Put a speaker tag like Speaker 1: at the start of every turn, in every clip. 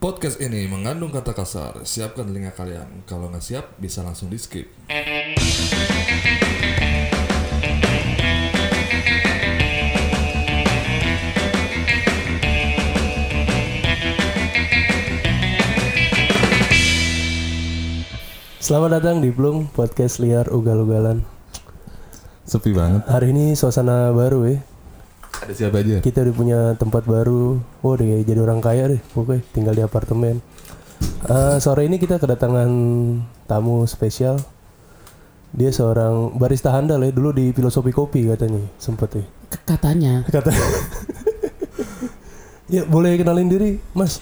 Speaker 1: Podcast ini mengandung kata kasar. Siapkan telinga kalian. Kalau nggak siap, bisa langsung di skip.
Speaker 2: Selamat datang di Blung Podcast Liar Ugal-Ugalan
Speaker 1: Sepi banget.
Speaker 2: Hari ini suasana baru ya
Speaker 1: Ada siapa aja?
Speaker 2: Kita udah punya tempat baru Wah udah kayak jadi orang kaya deh Pokoknya tinggal di apartemen Eh, Sore ini kita kedatangan tamu spesial Dia seorang barista handal ya Dulu di Filosofi Kopi katanya Sempet ya
Speaker 3: katanya
Speaker 2: Kata Ya boleh kenalin diri Mas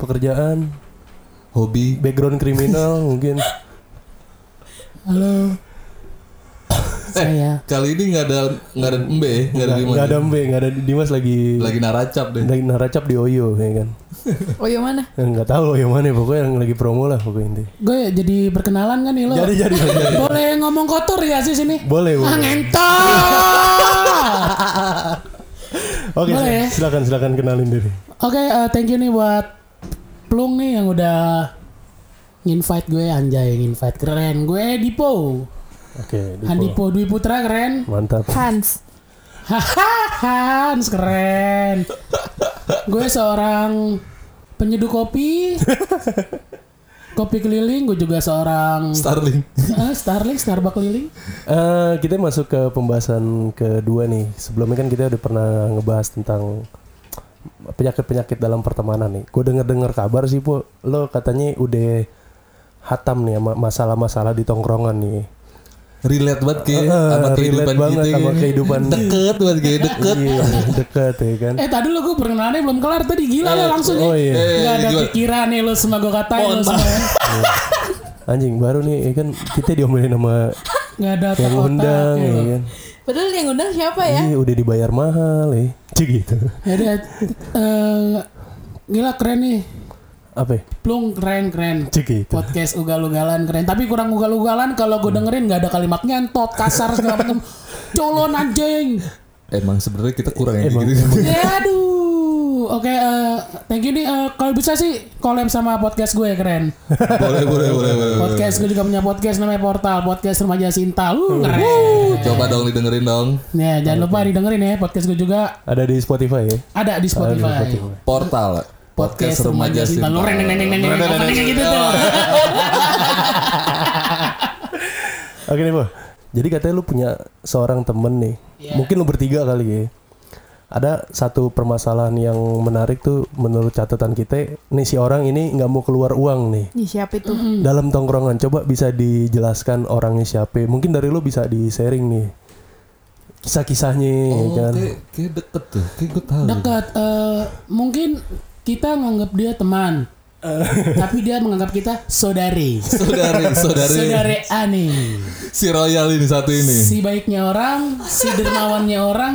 Speaker 2: Pekerjaan
Speaker 1: Hobi.
Speaker 2: Background kriminal mungkin
Speaker 3: halo saya
Speaker 1: Kali ini nggak ada nggak ada mbe, nggak ada
Speaker 2: Nggak
Speaker 1: gimana.
Speaker 2: nggak
Speaker 4: ya?
Speaker 2: ada Mbe Nggak ada Dimas lagi
Speaker 1: Lagi naracap deh.
Speaker 2: Lagi naracap di Oyo ya kan.
Speaker 3: oh yang mana
Speaker 2: Ya, Nggak tahu loh yang mana pokoknya yang lagi promo lah pokoknya inti.
Speaker 3: gue ya jadi perkenalan kan nih lo
Speaker 2: Jadi jadi jadi.
Speaker 3: boleh ngomong kotor ya sih sini
Speaker 2: Boleh, boleh.
Speaker 3: Ah, ngentol
Speaker 2: Oke,
Speaker 3: Boleh.
Speaker 2: silakan silakan kenalin diri.
Speaker 3: oke eh, thank you nih buat Plung nih yang udah invite gue anjay invite keren gue Dipo
Speaker 2: Oke, Dipo.
Speaker 3: Handipo Dwi Putra keren
Speaker 2: Mantap.
Speaker 5: Hans.
Speaker 3: Hahaha Hans keren gue seorang penyeduh kopi kopi keliling gue juga seorang
Speaker 1: Starling.
Speaker 3: Ah, Starling, Starbucks keliling.
Speaker 2: Eh, kita masuk ke pembahasan kedua nih. Sebelumnya kan kita udah pernah ngebahas tentang penyakit-penyakit dalam pertemanan nih. Gue denger-dengar kabar sih, Po. Lo katanya udah hatam nih sama masalah-masalah di tongkrongan nih.
Speaker 1: Relate banget kayak
Speaker 2: Eh,
Speaker 1: sama
Speaker 2: relate
Speaker 1: kehidupan
Speaker 2: banget
Speaker 1: kita
Speaker 2: sama
Speaker 1: kayaknya.
Speaker 2: kehidupan-
Speaker 1: Deket banget kayak deket.
Speaker 2: Iya, deket ya kan.
Speaker 3: Eh tadi lo gue perkenalannya belum kelar tadi gila lo langsung
Speaker 2: oh
Speaker 3: nih.
Speaker 2: iya.
Speaker 3: Nggak
Speaker 1: Eh,
Speaker 3: ada
Speaker 1: gimana?
Speaker 3: pikiran nih lo semua gue katain
Speaker 1: Mohon
Speaker 3: lo semua.
Speaker 2: Anjing baru nih ya kan kita diomelin sama
Speaker 3: Nggak ada otak gitu.
Speaker 2: yang undang
Speaker 3: iya.
Speaker 2: ya kan.
Speaker 5: Padahal yang undang siapa ya?
Speaker 2: Iya udah dibayar mahal ya. Cik gitu.
Speaker 3: Jadi eh, gila keren nih.
Speaker 2: Apa? ya?
Speaker 3: Plung keren keren.
Speaker 2: Cik gitu.
Speaker 3: Podcast ugal-ugalan keren. Tapi kurang ugal-ugalan kalau gue dengerin nggak ada kalimat ngentot, kasar segala macam. Colon anjing.
Speaker 1: Emang sebenarnya kita kurang yang
Speaker 2: Emang-
Speaker 1: gitu.
Speaker 3: Ya, Aduh. Oke, eh, thank you nih. Eh, kalau bisa sih collab sama podcast gue keren.
Speaker 1: boleh, boleh, boleh, boleh.
Speaker 3: Podcast gue juga punya podcast namanya Portal Podcast Remaja Sinta. Uh, keren.
Speaker 1: Coba dong didengerin dong.
Speaker 3: Nah, jangan lupa didengerin ya podcast gue juga
Speaker 2: Ada di Spotify ya.
Speaker 3: ada di Spotify.
Speaker 1: Portal.
Speaker 3: Podcast Remaja Sinta. Lo reng neng neng neng neng neng openingnya gitu tuh.
Speaker 2: Oke nih Bo. Jadi katanya lu punya seorang temen nih. Mungkin lu bertiga kali ya. Ada satu permasalahan yang menarik tuh menurut catatan kita. Nih si orang ini nggak mau keluar uang nih.
Speaker 5: Ih, siapa itu?
Speaker 2: Dalam tongkrongan coba bisa dijelaskan orangnya siapa. Mungkin dari lu bisa di sharing nih. Kisah-kisahnya ya
Speaker 1: Oh,
Speaker 2: kan.
Speaker 1: kayak, kayak deket tuh. Kayak gue
Speaker 4: Hmm.
Speaker 1: tahu.
Speaker 3: Dekat eh, mungkin kita nganggap dia teman. Tapi dia menganggap kita saudari.
Speaker 1: Saudari, saudari.
Speaker 3: Saudari aneh.
Speaker 1: Si Royal ini satu ini.
Speaker 3: Si baiknya orang, si dermawannya orang,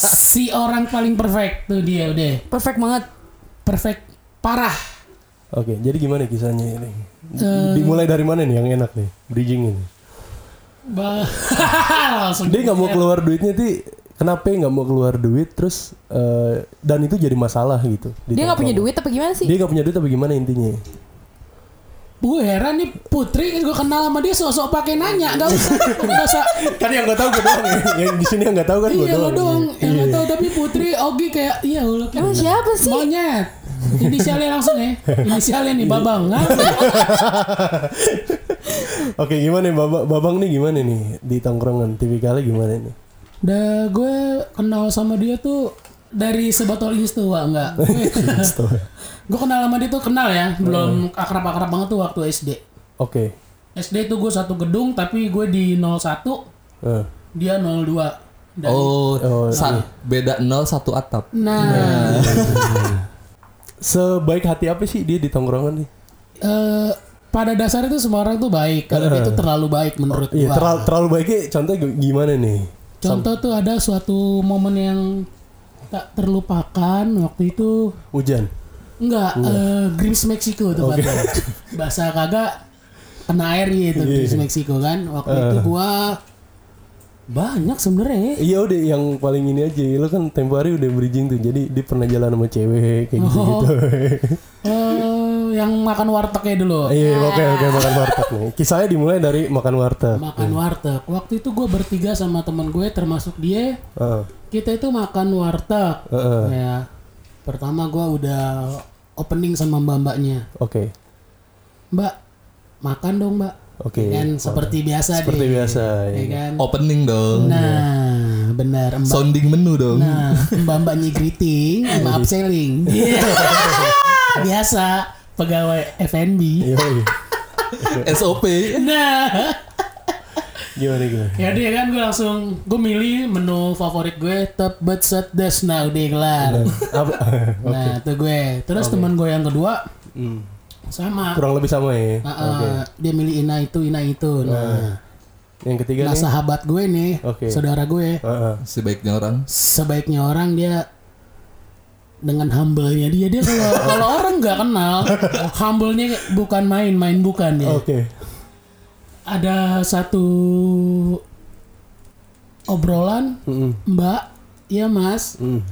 Speaker 3: si orang paling perfect tuh dia udah.
Speaker 5: Perfect banget.
Speaker 3: Perfect parah.
Speaker 2: Oke, jadi gimana kisahnya ini? Dimulai dari mana nih yang enak nih? Bridging ini.
Speaker 3: Ba- langsung
Speaker 2: Dia nggak mau
Speaker 5: Iya.
Speaker 2: keluar duitnya ti. Kenapa ya nggak mau keluar duit? Terus eh, dan itu jadi masalah gitu. di
Speaker 5: Dia nggak
Speaker 2: tongkrongan.
Speaker 5: punya duit apa gimana sih?
Speaker 2: Dia nggak punya duit apa gimana intinya?
Speaker 3: gue heran nih Putri kan gue kenal sama dia sosok pakai nanya gak usah gak usah
Speaker 2: kan yang nggak tahu gue doang. yang di sini yang nggak tahu kan gue
Speaker 3: iya lo
Speaker 2: doang.
Speaker 3: doang yang gak tahu tapi Putri Ogi kayak iya lo
Speaker 5: Emang siapa sih?
Speaker 3: monyet inisialnya langsung ya inisialnya nih babang
Speaker 2: Oke, gimana nih babang, babang nih gimana nih di tongkrongan? Tipikalnya gimana nih?
Speaker 3: udah gue kenal sama dia tuh dari sebotol istiwa enggak
Speaker 2: Oke,
Speaker 3: gue kenal sama dia tuh kenal ya
Speaker 2: Hmm.
Speaker 3: belum akrab-akrab banget tuh waktu SD SD tuh gue satu gedung tapi gue di 01
Speaker 2: Eh,
Speaker 3: dia 02 Dan-
Speaker 1: Oh,
Speaker 2: Oh, Iya.
Speaker 1: sa- beda 0 satu atap.
Speaker 3: nah.
Speaker 2: sebaik hati apa sih dia di tongkrongan nih?
Speaker 3: eh pada dasarnya tuh semua orang tuh baik. Kalau dia tuh terlalu baik menurut
Speaker 2: Iya,
Speaker 3: gua.
Speaker 2: terlalu, terlalu baiknya contoh gimana nih?
Speaker 3: Contoh tuh ada suatu momen yang tak terlupakan waktu itu
Speaker 2: Hujan.
Speaker 3: enggak eh, Grease Mexico tuh Pak. bahasa kagak kena air gitu
Speaker 2: Iya.
Speaker 3: Grease Mexico kan. Waktu itu
Speaker 2: Eh.
Speaker 3: gua banyak sebenarnya. ya.
Speaker 2: Iya udah yang paling ini aja Lo kan tempo hari udah bridging tuh Jadi dia pernah jalan sama cewek Kayak gitu-gitu
Speaker 3: Eh, yang makan wartegnya dulu.
Speaker 2: Iya, oke oke makan warteg nih. Kisahnya dimulai dari makan warteg.
Speaker 3: Makan warteg. Waktu itu gue bertiga sama teman gue termasuk dia.
Speaker 2: Heeh.
Speaker 3: Kita itu makan warteg.
Speaker 2: Heeh.
Speaker 3: Ya. Pertama gue udah opening sama mbak-mbaknya.
Speaker 2: Oke.
Speaker 3: Mbak, makan dong mbak.
Speaker 2: Oke.
Speaker 3: Dan seperti biasa
Speaker 2: Seperti
Speaker 3: deh.
Speaker 2: biasa. iya.
Speaker 3: Ya kan?
Speaker 4: Opening dong.
Speaker 3: Nah, benar. Mbak
Speaker 4: Sounding menu dong.
Speaker 3: Nah, mbak-mbaknya greeting sama upselling. Biasa pegawai F&B.
Speaker 2: Iya. iya.
Speaker 4: SOP.
Speaker 3: Nah,
Speaker 2: Gimana gimana?
Speaker 3: ya dia kan gue langsung gue milih menu favorit gue tebet sedes nah udah kelar.
Speaker 2: Apa?
Speaker 3: Nah, itu gue. Terus teman gue yang kedua
Speaker 2: Hmm.
Speaker 3: sama.
Speaker 2: Kurang lebih sama ya.
Speaker 3: Nah, eh, Dia milih ina itu, ina itu. Nah,
Speaker 2: Yang ketiga iya
Speaker 3: nah
Speaker 2: nih. Ah,
Speaker 3: sahabat gue nih,
Speaker 2: Oke.
Speaker 3: saudara gue,
Speaker 2: Heeh.
Speaker 4: Sebaiknya orang.
Speaker 3: sebaiknya orang dia dengan humble-nya dia dia kalau kalau orang nggak kenal humble-nya bukan main main bukan ya
Speaker 2: Oke.
Speaker 3: ada satu obrolan
Speaker 2: Mm-mm.
Speaker 3: mbak ya mas
Speaker 2: Mm.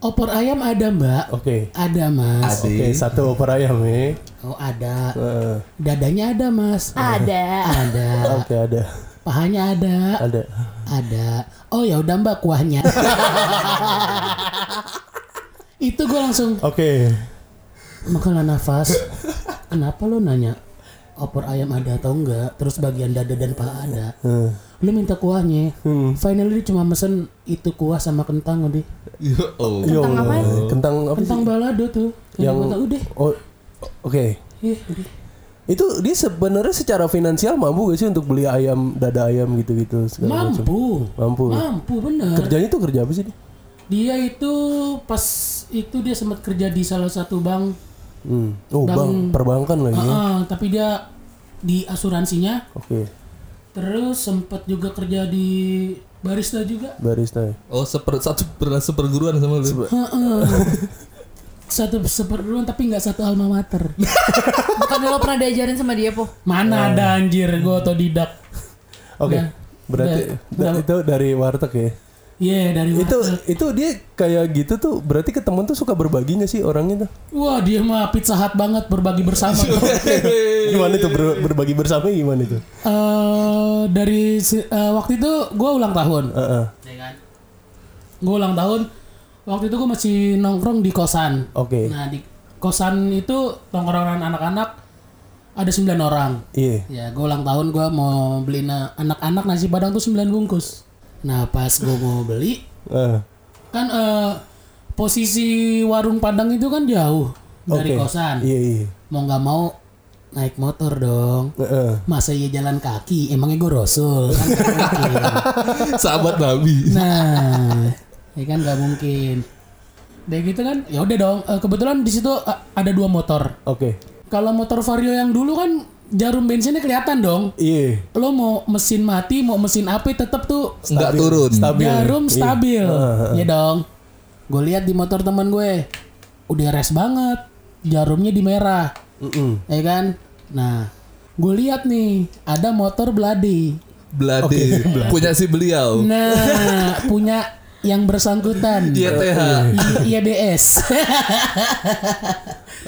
Speaker 3: opor ayam ada mbak
Speaker 2: Oke.
Speaker 3: ada mas
Speaker 4: Ada.
Speaker 2: Oke, satu opor ayam ya.
Speaker 3: oh ada
Speaker 2: Heeh.
Speaker 3: dadanya ada mas
Speaker 5: Ada.
Speaker 3: ada
Speaker 2: Oke, ada.
Speaker 3: pahanya ada
Speaker 2: Ada.
Speaker 3: ada oh ya udah mbak kuahnya itu gue langsung
Speaker 2: Oke.
Speaker 3: Makanya nafas. Kenapa lu nanya opor ayam ada atau enggak? Terus bagian dada dan paha ada.
Speaker 2: Heeh.
Speaker 3: Lu minta kuahnya.
Speaker 2: Hmm.
Speaker 3: Finally dia cuma mesen itu kuah sama kentang udah.
Speaker 4: Ya Allah.
Speaker 2: Yo,
Speaker 5: Kentang apa?
Speaker 2: Kentang apa? sih?
Speaker 3: Kentang balado tuh. Kentang
Speaker 2: Yang-
Speaker 3: balado, udah.
Speaker 2: Oh, oke.
Speaker 3: Iya, udah.
Speaker 2: Itu dia sebenarnya secara finansial mampu gak sih untuk beli ayam dada ayam gitu-gitu segala macam.
Speaker 3: Mampu.
Speaker 2: Mampu.
Speaker 3: Mampu bener.
Speaker 2: Kerjanya tuh kerja apa sih? dia?
Speaker 3: Dia itu pas itu dia sempat kerja di salah satu bank.
Speaker 2: Hmm. Oh,
Speaker 3: Bank.
Speaker 2: bang, perbankan lagi. ya.
Speaker 3: Ah, tapi dia di asuransinya.
Speaker 2: Oke,
Speaker 3: Terus sempat juga kerja di barista juga.
Speaker 2: barista. ya.
Speaker 4: Oh, seper, satu pernah seperguruan sama lu.
Speaker 3: Heeh. satu seperguruan tapi nggak satu alma mater.
Speaker 5: Bukan lo pernah diajarin sama dia,
Speaker 2: Eh.
Speaker 5: Po?
Speaker 3: Mana ada anjir gue otodidak.
Speaker 2: Oke.
Speaker 3: Udah.
Speaker 2: Berarti
Speaker 3: Nah, Udah.
Speaker 2: da- itu dari warteg ya.
Speaker 3: Iya dari
Speaker 2: Itu
Speaker 3: warteg.
Speaker 2: itu dia kayak gitu tuh berarti ke temen tuh suka berbaginya sih orangnya tuh.
Speaker 3: Wah dia mah pizza hut banget berbagi bersama.
Speaker 2: Iya. Gimana tuh ber- berbagi bersama gimana tuh?
Speaker 3: Eh, dari si- eh, waktu itu gue ulang tahun.
Speaker 2: Heeh.
Speaker 3: Gue ulang tahun. Waktu itu gue masih nongkrong di kosan.
Speaker 2: Oke.
Speaker 3: Nah di kosan itu tongkrongan anak-anak ada 9 orang.
Speaker 2: Iya.
Speaker 3: Ya, gue ulang tahun gue mau beli anak-anak nasi padang tuh 9 bungkus. Nah, pas gue mau beli,
Speaker 2: Heeh.
Speaker 3: kan eh, posisi warung padang itu kan jauh dari
Speaker 2: Oke.
Speaker 3: kosan.
Speaker 2: Iya, iya.
Speaker 3: Mau nggak mau naik motor dong.
Speaker 2: Heeh.
Speaker 3: Masa iya jalan kaki, emangnya gue rasul kan nggak mungkin.
Speaker 4: Sahabat Nabi.
Speaker 3: Nah, ya kan nggak mungkin. Dari gitu kan, ya udah dong. Eh, kebetulan di situ eh, ada dua motor.
Speaker 2: Oke.
Speaker 3: Kalau motor Vario yang dulu kan jarum bensinnya kelihatan dong.
Speaker 2: Iya.
Speaker 3: lo mau mesin mati mau mesin apa tetap tuh
Speaker 4: Enggak turun.
Speaker 2: Stabil.
Speaker 3: jarum
Speaker 2: Iya.
Speaker 3: stabil ya dong gue lihat di motor teman gue udah res banget jarumnya di merah
Speaker 2: Mm-mm.
Speaker 3: ya kan nah gue lihat nih ada motor beladi
Speaker 4: Belade. Punya si
Speaker 2: Oh.
Speaker 4: beliau.
Speaker 3: nah punya yang bersangkutan
Speaker 2: Iya,
Speaker 4: YTH.
Speaker 3: I- E IBS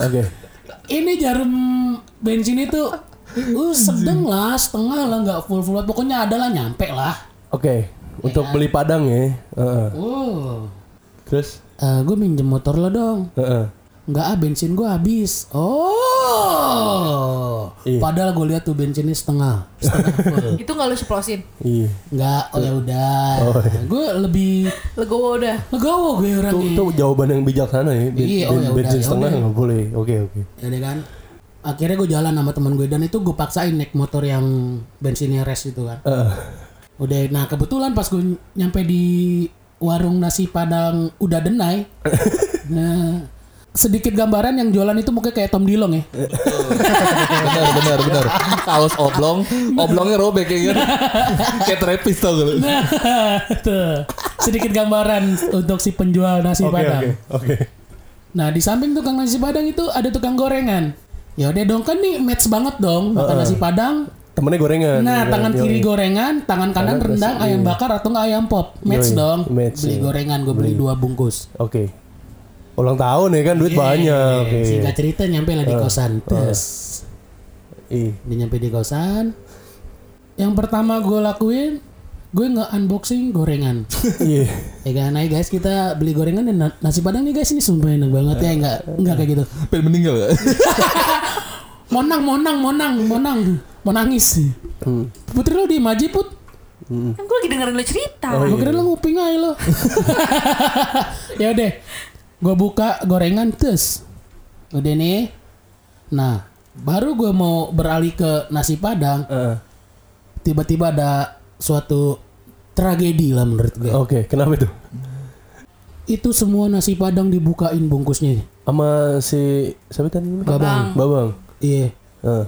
Speaker 2: Oke.
Speaker 3: ini jarum bensin itu uh sedang lah setengah lah nggak full full pokoknya adalah nyampe lah
Speaker 2: Oke. Untuk beli padang ya. Heeh.
Speaker 3: oh
Speaker 2: Terus
Speaker 3: gue Eh, minjem motor lo dong
Speaker 2: heeh.
Speaker 3: Enggak ah bensin gua habis. Oh.
Speaker 2: Iya.
Speaker 3: Padahal gue lihat tuh bensinnya setengah. Setengah full.
Speaker 5: Itu nggak lo ceplosin.
Speaker 2: Iya.
Speaker 3: Enggak, oh ya udah. Gue lebih
Speaker 5: Legowo udah.
Speaker 3: legowo gue
Speaker 2: Itu,
Speaker 3: orangnya.
Speaker 2: itu jawaban yang bijaksana ya. Ben-
Speaker 3: Iya, oh
Speaker 2: ben-
Speaker 3: ya udah,
Speaker 2: bensin
Speaker 3: ya
Speaker 2: setengah
Speaker 3: udah.
Speaker 2: nggak boleh. Oke oke.
Speaker 3: Ya deh kan. Akhirnya gue jalan sama teman gue dan itu gue paksain naik motor yang bensinnya res itu kan.
Speaker 2: Heeh.
Speaker 3: Udah, nah kebetulan pas gue nyampe di warung nasi padang udah denai. nah, sedikit gambaran yang jualan itu mukanya kayak Tom Dilong ya.
Speaker 4: benar benar benar. Kaos oblong, oblongnya robek ya kan. Kayak terapis tau gak lu.
Speaker 3: Nah, tuh. Sedikit gambaran untuk si penjual nasi
Speaker 2: Oke
Speaker 3: padang.
Speaker 2: oke oke.
Speaker 3: Nah, di samping tukang nasi padang itu ada tukang gorengan. Ya udah dong kan nih match banget dong makan nasi padang.
Speaker 2: Temennya gorengan.
Speaker 3: Nah,
Speaker 2: Iya,
Speaker 3: tangan
Speaker 2: iya,
Speaker 3: kiri
Speaker 2: iya.
Speaker 3: gorengan, tangan kanan
Speaker 2: Karena
Speaker 3: rendang,
Speaker 2: nasi,
Speaker 3: ayam
Speaker 2: iya.
Speaker 3: bakar atau nggak ayam pop. Match
Speaker 2: Yoi,
Speaker 3: dong.
Speaker 2: match,
Speaker 3: beli
Speaker 2: iya.
Speaker 3: gorengan, gue beli dua bungkus.
Speaker 2: Oke. ulang tahun ya kan duit banyak. eh.
Speaker 3: Eh,
Speaker 2: iya.
Speaker 3: Singkat cerita nyampe lah di kosan. Terus
Speaker 2: Ih,
Speaker 3: dia nyampe di kosan. Yang pertama gue lakuin, gue nge unboxing gorengan.
Speaker 2: Iya.
Speaker 3: ya kan, nah guys kita beli gorengan dan na- nasi padang nih guys ini sumpah enak banget ya nggak nggak kayak gitu.
Speaker 4: Pengen meninggal gak?
Speaker 3: Nah. Monang, monang, monang, monang, monangis. Putri lo di aja put.
Speaker 5: Kan gue lagi dengerin lo cerita.
Speaker 3: Gue kira lo nguping aja lo. ya udah, gue buka gorengan terus. Udah nih. Nah, baru gue mau beralih ke nasi padang.
Speaker 2: Heeh.
Speaker 3: tiba-tiba ada suatu tragedi lah menurut gue.
Speaker 2: Oke, kenapa itu?
Speaker 3: Itu semua nasi padang dibukain bungkusnya.
Speaker 2: Sama si siapa tadi? namanya?
Speaker 3: Babang.
Speaker 2: Babang.
Speaker 3: Iya.
Speaker 2: Heeh.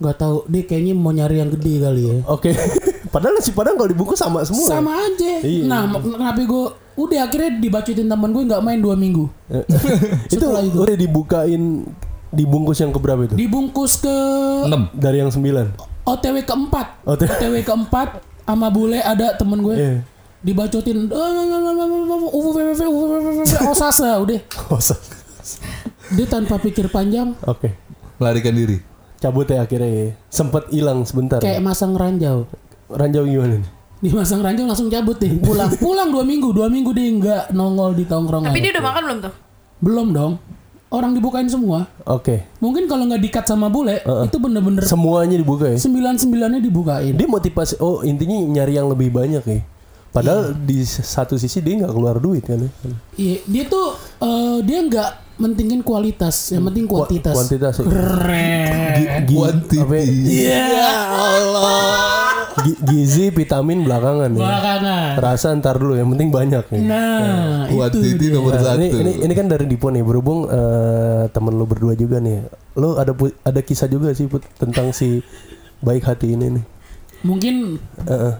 Speaker 3: Gak tahu dia kayaknya mau nyari yang gede kali ya.
Speaker 2: Oke. Padahal nasi padang kalau dibungkus sama semua.
Speaker 3: Sama aja. Nah, mak- kenapa gue udah akhirnya dibacutin teman gue nggak main dua minggu.
Speaker 2: Eh, itu
Speaker 3: Setelah itu.
Speaker 2: udah dibukain dibungkus yang keberapa itu?
Speaker 3: Dibungkus ke
Speaker 4: 6
Speaker 2: Dari yang sembilan.
Speaker 3: OTW keempat.
Speaker 2: Oh, tuh.
Speaker 3: OTW keempat sama bule ada temen "Eh, gue.
Speaker 2: Iya.
Speaker 3: Dibacutin eh, UVVV UVVV Osasa eh, udah.
Speaker 2: Kosong.
Speaker 3: Dia tanpa pikir panjang
Speaker 2: Oke.
Speaker 4: Larikan diri
Speaker 2: Cabut ya akhirnya ya. Sempet hilang sebentar.
Speaker 3: kayak masang ranjau.
Speaker 2: Ranjau gimana nih?
Speaker 3: dimasang ranjang langsung cabut deh pulang pulang dua minggu dua minggu dia nggak nongol di tongkrongan
Speaker 5: Tapi dia udah makan belum tuh?
Speaker 3: belum dong orang dibukain semua
Speaker 2: Oke.
Speaker 3: mungkin kalau nggak dikat sama bule itu bener-bener
Speaker 2: Semuanya dibuka ya.
Speaker 3: sembilan sembilannya dibukain
Speaker 2: Dia motivasi oh intinya nyari yang lebih banyak ya. Padahal di satu sisi dia nggak keluar duit kan. ya.
Speaker 3: iya dia tuh eh, dia nggak mentingin kualitas yang penting kuantitas
Speaker 2: Kuantitas. ya.
Speaker 3: keren
Speaker 2: apa ya?
Speaker 4: Quantity
Speaker 2: Gi- gizi vitamin belakangan ya.
Speaker 3: belakangan
Speaker 2: Terasa ntar dulu yang penting banyak ya.
Speaker 3: nah
Speaker 4: Quantity nomor
Speaker 2: Nah, ini,
Speaker 4: 1
Speaker 2: ini ini kan dari Dipo nih berhubung eh, temen lu berdua juga nih. Lu ada pu- ada kisah juga sih Put, tentang si baik hati ini nih.
Speaker 3: mungkin
Speaker 2: Heeh.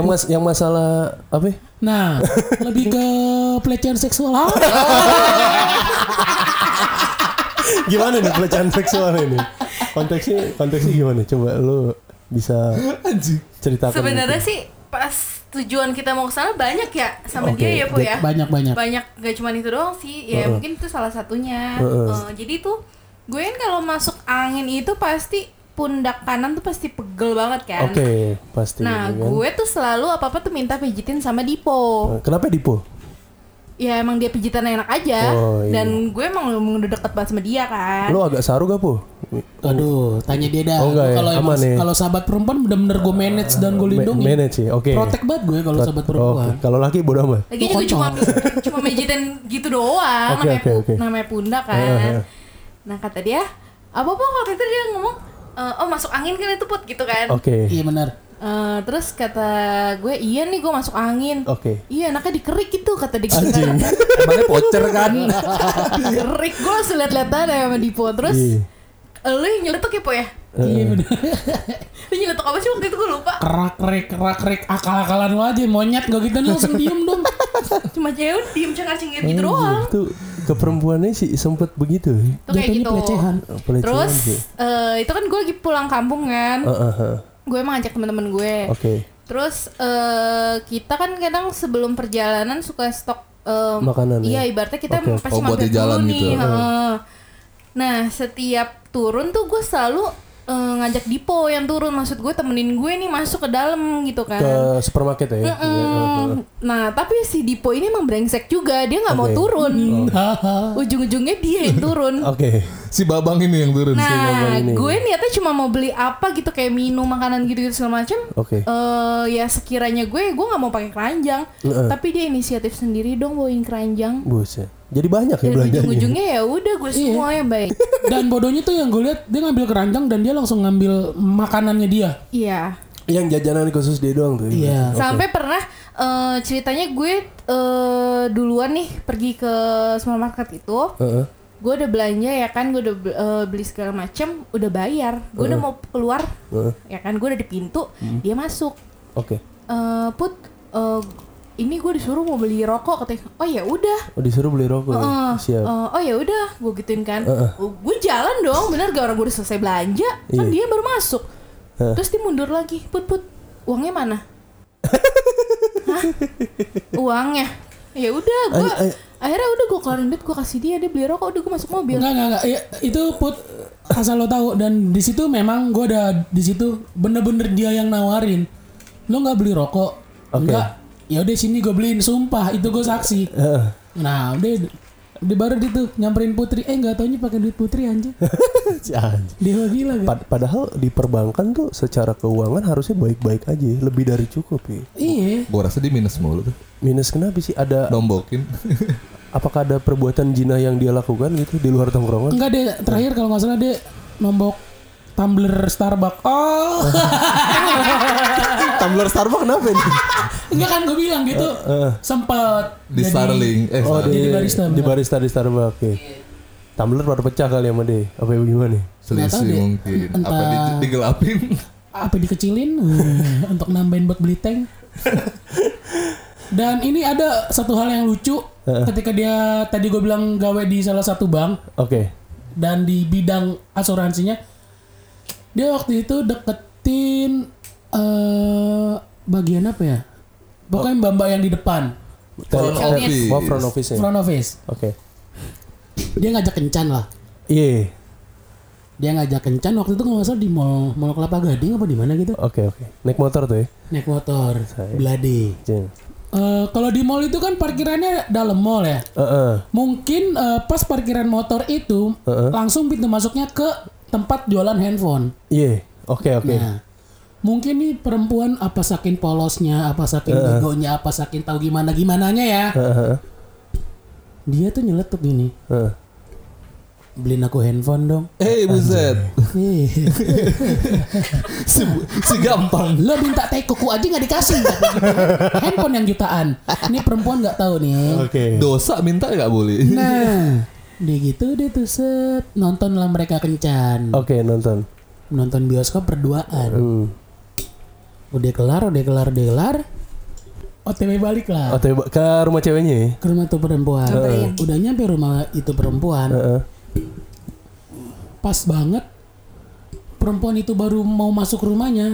Speaker 2: Yang mas yang masalah apa? ya?
Speaker 3: nah lebih ke pelecehan seksual Ah,
Speaker 2: Gimana nih pelecehan seksual ini? Konteksnya konteksnya gimana? Coba lu bisa
Speaker 4: Anjing
Speaker 2: ceritakan.
Speaker 5: Sebenarnya sih pas tujuan kita mau ke sana banyak ya sama
Speaker 2: Oke,
Speaker 5: dia ya, Po ya.
Speaker 3: banyak banyak
Speaker 5: banyak gak cuma itu doang sih ya mungkin itu salah satunya Eh, jadi tuh gue kan kalau masuk angin itu pasti pundak kanan tuh pasti pegel banget kan
Speaker 2: Oke, pasti.
Speaker 5: nah
Speaker 2: gitu kan. Eh,
Speaker 5: gue tuh selalu apa apa tuh minta pijitin sama Dipo
Speaker 2: Kenapa Dipo?
Speaker 5: ya emang dia pijitan enak aja
Speaker 2: Oh, iya.
Speaker 5: dan gue emang emang udah deket banget sama dia kan
Speaker 2: Lu agak saru gak, Po?
Speaker 3: Aduh, tanya dia dah.
Speaker 2: Oh, enggak ya?
Speaker 3: Kalau emang-
Speaker 2: Aman ya?
Speaker 3: kalau sahabat perempuan bener-bener gue manage dan gue lindungi.
Speaker 2: Ma- manage ya, oke.
Speaker 3: Protek banget gue kalau sahabat perempuan.
Speaker 2: Oke, Kalau laki bodo amat.
Speaker 5: lagi juga cuma cuma pijitin gitu doang
Speaker 2: Oke,
Speaker 5: namanya,
Speaker 2: oke,
Speaker 5: pu-
Speaker 2: oke.
Speaker 5: namanya pundak kan
Speaker 2: Iya, iya.
Speaker 5: nah kata dia apa apa waktu itu dia ngomong "Eh, oh masuk angin kan itu put gitu kan
Speaker 2: Oke.
Speaker 3: Iya bener.
Speaker 5: Eh, terus kata gue iya nih gue masuk angin
Speaker 2: Oke.
Speaker 5: iya anaknya dikerik gitu kata dia gitu
Speaker 2: Anjing.
Speaker 5: kan.
Speaker 4: Emangnya pocer kan
Speaker 5: dikerik gue langsung liat-liat aja sama Dipo terus gitu
Speaker 2: Iya.
Speaker 5: lu yang nyeletuk ya po ya
Speaker 3: Iya bener.
Speaker 5: lu nyeletuk apa sih waktu itu gue lupa
Speaker 3: kerak rek kerak rek akal-akalan lu aja monyet gak gitu langsung diem dong.
Speaker 5: cuma jauh diem cengar-cengir gitu doang
Speaker 2: Itu ke perempuannya sih sempet begitu. ya.
Speaker 5: tuh kayak
Speaker 3: Jatuhnya
Speaker 5: gitu
Speaker 3: pelecehan.
Speaker 2: Pelecehan
Speaker 5: terus
Speaker 2: sih.
Speaker 5: eh, itu kan gue lagi pulang kampung kan
Speaker 2: Ah, ah, ah.
Speaker 5: gue emang ngajak temen-temen gue
Speaker 2: Oke.
Speaker 5: terus eh, kita kan kadang sebelum perjalanan suka stok eh,
Speaker 2: Makanan,
Speaker 5: iya
Speaker 2: ya?
Speaker 5: ibaratnya kita
Speaker 2: Oke, oke.
Speaker 5: pasti
Speaker 4: Oh, buat
Speaker 5: mampir
Speaker 4: di jalan
Speaker 5: dulu
Speaker 4: gitu.
Speaker 5: nih heeh. nah setiap turun tuh gue selalu eh, ngajak Dipo yang turun maksud gue temenin gue nih masuk ke dalam gitu kan
Speaker 2: Ke supermarket ya. Iya, ah, ah.
Speaker 5: Mm-mm. Nah tapi si Dipo ini emang brengsek juga Dia nggak mau
Speaker 2: Oke. Oh.
Speaker 5: turun
Speaker 3: Hahaha.
Speaker 5: Ujung-ujungnya dia yang turun
Speaker 2: Oke.
Speaker 4: Si babang ini yang turun
Speaker 5: Nah
Speaker 2: ini.
Speaker 5: gue niatnya cuma mau beli apa gitu Kayak minum makanan gitu-gitu segala macem
Speaker 2: Oke.
Speaker 5: Eh, ya sekiranya gue gue nggak mau pakai keranjang
Speaker 2: Heeh.
Speaker 5: tapi dia inisiatif sendiri dong bawain keranjang
Speaker 2: Buset. Jadi banyak ya
Speaker 5: dan
Speaker 2: belanjanya.
Speaker 5: ujung-ujungnya ya udah gue semua yang baik
Speaker 3: dan bodohnya tuh yang gue lihat dia ngambil keranjang dan dia langsung ngambil makanannya dia.
Speaker 5: iya
Speaker 2: Yang jajanan khusus dia doang tuh.
Speaker 3: Iya.
Speaker 5: sampai pernah eh, ceritanya gue eh, duluan nih pergi ke supermarket itu
Speaker 2: Heeh.
Speaker 5: gue udah belanja ya kan gue udah be- eh, beli segala macem udah bayar gue
Speaker 2: Eh.
Speaker 5: udah mau keluar
Speaker 2: Heeh.
Speaker 5: ya kan gue udah di pintu
Speaker 2: Hmm.
Speaker 5: dia masuk
Speaker 2: Oke.
Speaker 5: Eh, put eh, ini gue disuruh mau beli rokok katanya oh ya udah
Speaker 2: Oh, disuruh beli rokok. ya?
Speaker 5: Heeh.
Speaker 2: Siap. Eh,
Speaker 5: Eh, oh ya udah, gue gituin kan. Gue jalan dong, bener gak orang gue udah selesai belanja, kan
Speaker 2: Iya.
Speaker 5: dia baru masuk.
Speaker 2: Eh.
Speaker 5: Terus dia mundur lagi, put put, uangnya mana? Hah? Uangnya? ya udah gue
Speaker 2: Ay- ay-
Speaker 5: akhirnya udah gue keluarin duit gue kasih dia dia beli rokok udah gue masuk mobil
Speaker 3: Enggak, enggak, enggak. Ya, itu put asal lo tahu dan di situ memang gue ada di situ bener-bener dia yang nawarin. Lo nggak beli rokok?
Speaker 2: Oke.
Speaker 3: Enggak. Ya udah sini gue beliin sumpah itu gue saksi.
Speaker 2: Heeh.
Speaker 3: Nah, udah di baru dia tuh nyamperin Putri. Eh nggak taunya pakai duit Putri anjir.
Speaker 2: Si anjing.
Speaker 3: Dia mah gila kan.
Speaker 2: Pad- padahal di perbankan tuh secara keuangan harusnya baik-baik aja, lebih dari cukup ya.
Speaker 3: Iya.
Speaker 4: Gue rasa dia minus mulu tuh.
Speaker 2: Minus kenapa sih ada
Speaker 4: Dombokin.
Speaker 2: apakah ada perbuatan jinah yang dia lakukan gitu di luar tongkrongan?
Speaker 3: Enggak deh terakhir kalau nggak salah dia nombok tumbler Starbucks. Oh.
Speaker 2: Tumbler Starbucks kenapa ini?
Speaker 3: Enggak kan gue bilang gitu. Sempet
Speaker 4: di
Speaker 3: jadi-
Speaker 4: Starling. Eh,
Speaker 2: Eh, Oh,
Speaker 4: Starling.
Speaker 2: di,
Speaker 3: Jadi barista,
Speaker 2: di barista di Starbucks. Oke. Tumbler pada pecah kali sama dia. Apa gimana nih?
Speaker 4: Selisih
Speaker 3: deh.
Speaker 4: mungkin. Apa di,
Speaker 3: Entah.
Speaker 4: digelapin?
Speaker 3: apa dikecilin eh, untuk nambahin buat beli tank. Dan ini ada satu hal yang lucu
Speaker 2: Eh,
Speaker 3: ketika dia tadi gue bilang gawe di salah satu bank
Speaker 2: Oke.
Speaker 3: dan di bidang asuransinya dia waktu itu deketin eh bagian apa ya? Pokoknya mbak-mbak yang di depan
Speaker 4: Front
Speaker 2: Tel-
Speaker 4: office.
Speaker 2: Oh, front office. Oke.
Speaker 3: front office. Dia ngajak kencan lah.
Speaker 2: Iya.
Speaker 3: Dia ngajak kencan waktu itu nggak salah di mall mall Kelapa Gading apa di mana gitu
Speaker 2: Oke, oke. Naik motor tuh ya. Iya.
Speaker 3: naik motor
Speaker 2: Saya-
Speaker 3: belade.
Speaker 2: Jeng.
Speaker 3: Eh, kalau di mall itu kan parkirannya dalam mall ya.
Speaker 2: Heeh.
Speaker 3: Mungkin eh, pas parkiran motor itu langsung pintu masuknya ke tempat jualan handphone.
Speaker 2: Iya. Oke, oke.
Speaker 3: Nah, mungkin nih perempuan apa saking polosnya, apa saking begonya, apa saking tahu gimana gimananya ya.
Speaker 2: Heeh.
Speaker 3: Dia tuh nyeletuk gini,
Speaker 2: Heeh.
Speaker 3: beliin aku handphone dong. Iya.
Speaker 4: Eh, buset.
Speaker 3: Ih,
Speaker 4: Si, si gampang.
Speaker 3: Lo minta teh kuku aja nggak dikasih. handphone yang jutaan. Ini perempuan nggak tahu nih.
Speaker 2: Oke.
Speaker 4: Dosa minta nggak boleh.
Speaker 3: Nah, dia gitu dia tuh set nontonlah mereka kencan.
Speaker 2: Oke, nonton.
Speaker 3: Nonton bioskop berduaan.
Speaker 2: Hmm.
Speaker 3: Udah kelar, udah kelar, udah kelar. OTW balik lah
Speaker 2: Atau iba- ke rumah ceweknya ya?
Speaker 3: ke rumah tuh perempuan.
Speaker 5: Samperin.
Speaker 3: Udah nyampe rumah itu perempuan.
Speaker 2: Heeh.
Speaker 3: Pas banget perempuan itu baru mau masuk rumahnya.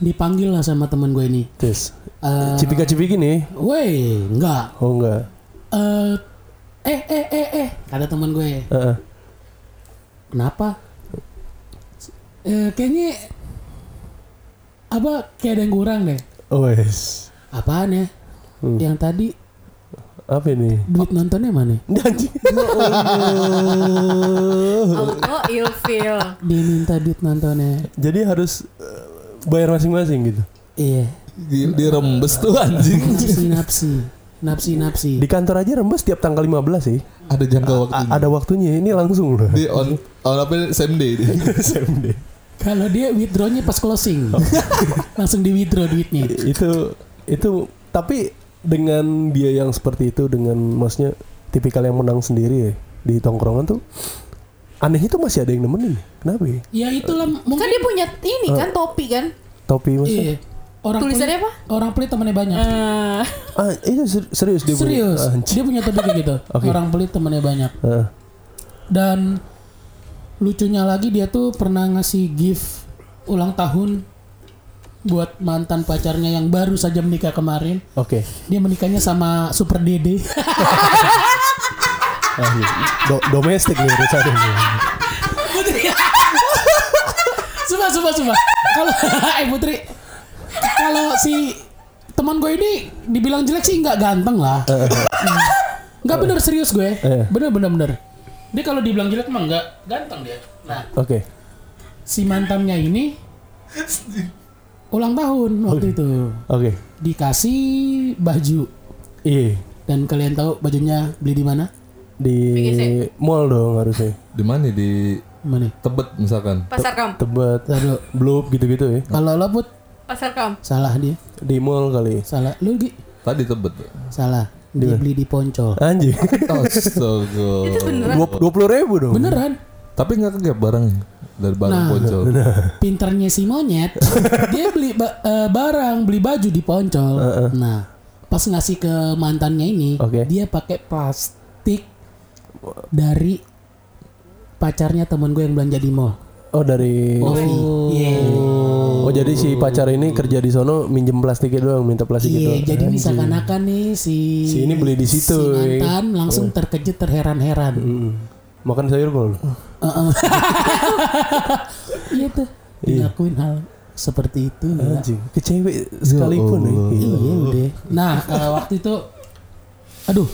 Speaker 3: Dipanggil lah sama teman gue ini.
Speaker 2: Terus
Speaker 3: Eh,
Speaker 2: cipika-cipiki nih.
Speaker 3: Woi, enggak.
Speaker 2: Oh enggak.
Speaker 3: Eh, eh, eh, eh, eh. Kata teman gue.
Speaker 2: Heeh.
Speaker 3: Kenapa? Eh, kayaknya apa kayak ada yang kurang deh.
Speaker 2: Oh, wes.
Speaker 3: Apaan ya?
Speaker 2: Hmm.
Speaker 3: Yang tadi
Speaker 2: Apa ini?
Speaker 3: duit nontonnya mana?
Speaker 5: auto ilfil
Speaker 3: Dia minta duit nontonnya.
Speaker 2: Jadi harus eh, bayar masing-masing gitu.
Speaker 3: Iya.
Speaker 4: Di, dirembes tuh anjing.
Speaker 3: Napsi napsi. Napsi napsi.
Speaker 2: Di kantor aja rembes tiap tanggal 15 sih.
Speaker 4: Ada jangka
Speaker 3: Hmm.
Speaker 4: waktu.
Speaker 2: A- ada waktunya. Ini langsung loh.
Speaker 4: Di
Speaker 3: Iya.
Speaker 4: on on apa same day.
Speaker 2: SMD.
Speaker 3: Kalau dia withdrawnya pas closing.
Speaker 2: Oh.
Speaker 3: Langsung di withdraw duitnya.
Speaker 2: itu itu tapi dengan dia yang seperti itu dengan maksudnya tipikal yang menang sendiri ya, di tongkrongan tuh aneh itu masih ada yang nemenin. Kenapa ya?
Speaker 3: Ya itulah
Speaker 5: kan
Speaker 3: mungkin
Speaker 5: dia punya ini
Speaker 6: Eh.
Speaker 5: kan topi kan
Speaker 2: Topi maksudnya?
Speaker 3: Iya. Orang
Speaker 5: Tulisannya Eh,
Speaker 3: pelit- Orang pelit temannya banyak.
Speaker 2: Ah, itu ser- serius dia punya.
Speaker 3: Serius.
Speaker 2: Ah,
Speaker 3: Dia punya topik kayak gitu.
Speaker 2: Oke.
Speaker 3: Orang pelit temannya banyak.
Speaker 2: ah.
Speaker 3: Dan lucunya lagi dia tuh pernah ngasih gift ulang tahun buat mantan pacarnya yang baru saja menikah kemarin.
Speaker 2: Oke.
Speaker 3: Dia menikahnya sama Super Dede. Eh,
Speaker 2: Ah, iya. Do- domestik nih urusannya.
Speaker 3: Sumpah, sumpah, sumpah. Kalau eh Putri, kalau si teman gue ini dibilang jelek sih nggak ganteng lah. Hmm. Nggak bener serius gue.
Speaker 2: Eh.
Speaker 3: Bener, bener, bener. Dia kalau dibilang jelek mah nggak ganteng dia. Nah,
Speaker 2: Oke.
Speaker 3: si mantannya ini ulang tahun waktu itu
Speaker 2: Oke.
Speaker 3: dikasih baju
Speaker 2: Iya.
Speaker 3: dan kalian tahu bajunya beli di mana?
Speaker 2: Di mall dong harusnya.
Speaker 4: Di mana di
Speaker 3: Mana?
Speaker 4: Tebet misalkan.
Speaker 5: pasar kam
Speaker 2: Tebet,
Speaker 3: Lalu
Speaker 2: Blub gitu-gitu ya.
Speaker 3: kalau lo put
Speaker 5: pasar kam
Speaker 3: salah dia,
Speaker 2: Di mall kali.
Speaker 3: salah lu Gi.
Speaker 4: Tadi Tebet.
Speaker 3: salah. Dia beli di Poncol.
Speaker 2: Anjing.
Speaker 4: Astaga.
Speaker 2: Dua puluh ribu dong.
Speaker 3: Beneran?
Speaker 4: Tapi nggak kegap barangnya dari barang
Speaker 2: Nah,
Speaker 4: poncol.
Speaker 3: pinternya si monyet dia beli ba- eh, barang beli baju di poncol nah pas ngasih ke mantannya ini
Speaker 2: Oke.
Speaker 3: dia pakai plastik dari pacarnya temen gue yang belanja di mall
Speaker 2: Oh dari.
Speaker 3: Ovi. Iya.
Speaker 2: Oh, jadi si pacar ini kerja di sono minjem plastiknya doang, minta plastik
Speaker 3: Iya,
Speaker 2: doang.
Speaker 3: jadi misalkan-akan nih si
Speaker 2: Si ini beli di situ,
Speaker 3: Si
Speaker 2: ya. Mm,
Speaker 3: mantan langsung terkejut terheran-heran.
Speaker 2: Hmm. Makan sayur kok lu.
Speaker 3: Oh. Iya tuh. Dilakuin hal seperti itu. ya.
Speaker 2: Anjing, ke cewek sekalipun ya.
Speaker 3: Iya udah. Nah eh, waktu itu, aduh,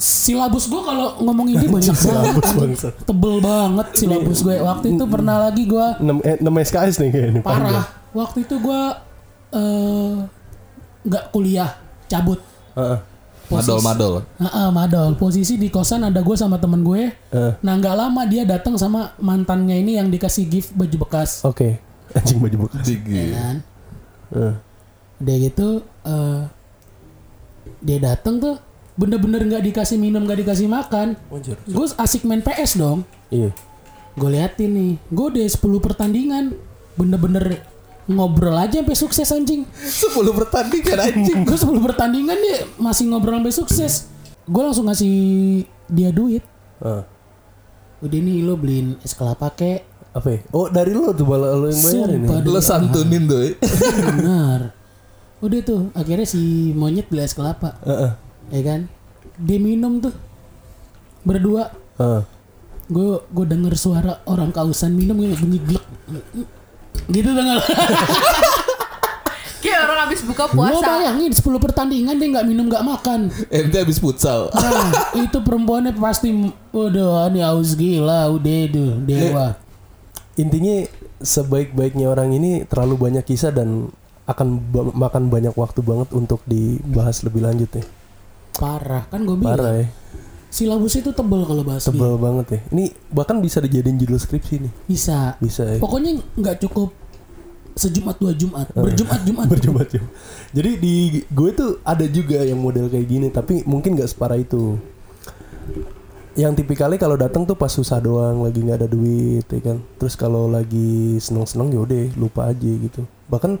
Speaker 3: silabus gue kalau ngomong ini banyak banget,
Speaker 2: bangsa.
Speaker 3: tebel banget silabus gue. Waktu itu pernah lagi gue
Speaker 2: 6, eh, 6 SKS nih kayaknya. nih, panjang.
Speaker 3: parah. Waktu itu gue eh, nggak kuliah, cabut.
Speaker 2: Heeh.
Speaker 4: Madol madol.
Speaker 3: Heeh, madol. Posisi di kosan ada gue sama temen gue.
Speaker 2: Eh.
Speaker 3: Nah nggak lama dia datang sama mantannya ini yang dikasih gift baju bekas.
Speaker 2: Oke. Anjing iya. baju Ah. bekas.
Speaker 4: Jigi.
Speaker 3: Kan?
Speaker 2: Heeh.
Speaker 3: Udah gitu eh, dia datang tuh bener-bener nggak dikasih minum nggak dikasih makan. Gue asik main PS dong.
Speaker 2: Iya.
Speaker 3: Gue liatin nih, gue udah 10 pertandingan bener-bener ngobrol aja sampai sukses anjing.
Speaker 4: Sepuluh pertandingan anjing.
Speaker 3: Gue 10 pertandingan dia masih ngobrol sampai sukses. Gue langsung ngasih dia duit.
Speaker 2: Heeh.
Speaker 3: Udah nih lo beliin es kelapa kek.
Speaker 2: Apa ya? Oh, dari lu tuh bala lu yang bayarin ya?
Speaker 3: Sumpah
Speaker 4: Lo
Speaker 3: demi
Speaker 4: santunin tuh. eh.
Speaker 3: Benar. Udah tuh, akhirnya si monyet beli es kelapa,
Speaker 2: Heeh.
Speaker 3: ya kan? Dia minum tuh. Berdua.
Speaker 2: Heeh.
Speaker 3: Gue gue denger suara orang kausan minum yang bunyi glek. Gitu denger.
Speaker 5: Kayak orang habis buka
Speaker 3: Lo
Speaker 5: puasa.
Speaker 3: bayangin 10 pertandingan dia nggak minum nggak makan.
Speaker 4: MT habis futsal.
Speaker 3: Nah, itu perempuannya pasti waduh ini haus gila udah itu dewa.
Speaker 2: Intinya sebaik-baiknya orang ini terlalu banyak kisah dan akan ba- makan banyak waktu banget untuk dibahas lebih lanjut nih.
Speaker 3: Parah kan gue bilang.
Speaker 2: Parah ya.
Speaker 3: Silabus itu tebel kalau bahas gitu. dia.
Speaker 2: Tebal banget ya. Ini bahkan bisa dijadiin judul skripsi nih.
Speaker 3: Bisa.
Speaker 2: Bisa ya.
Speaker 3: Pokoknya nggak cukup sejumat dua jumat, berjumat jumat.
Speaker 2: Berjubah-jubah. Jadi di gue tuh ada juga yang model kayak gini, tapi mungkin nggak separah itu. Yang tipikalnya kalau datang tuh pas susah doang, lagi nggak ada duit, ya kan. Terus kalau lagi seneng-seneng ya udah lupa aja gitu. Bahkan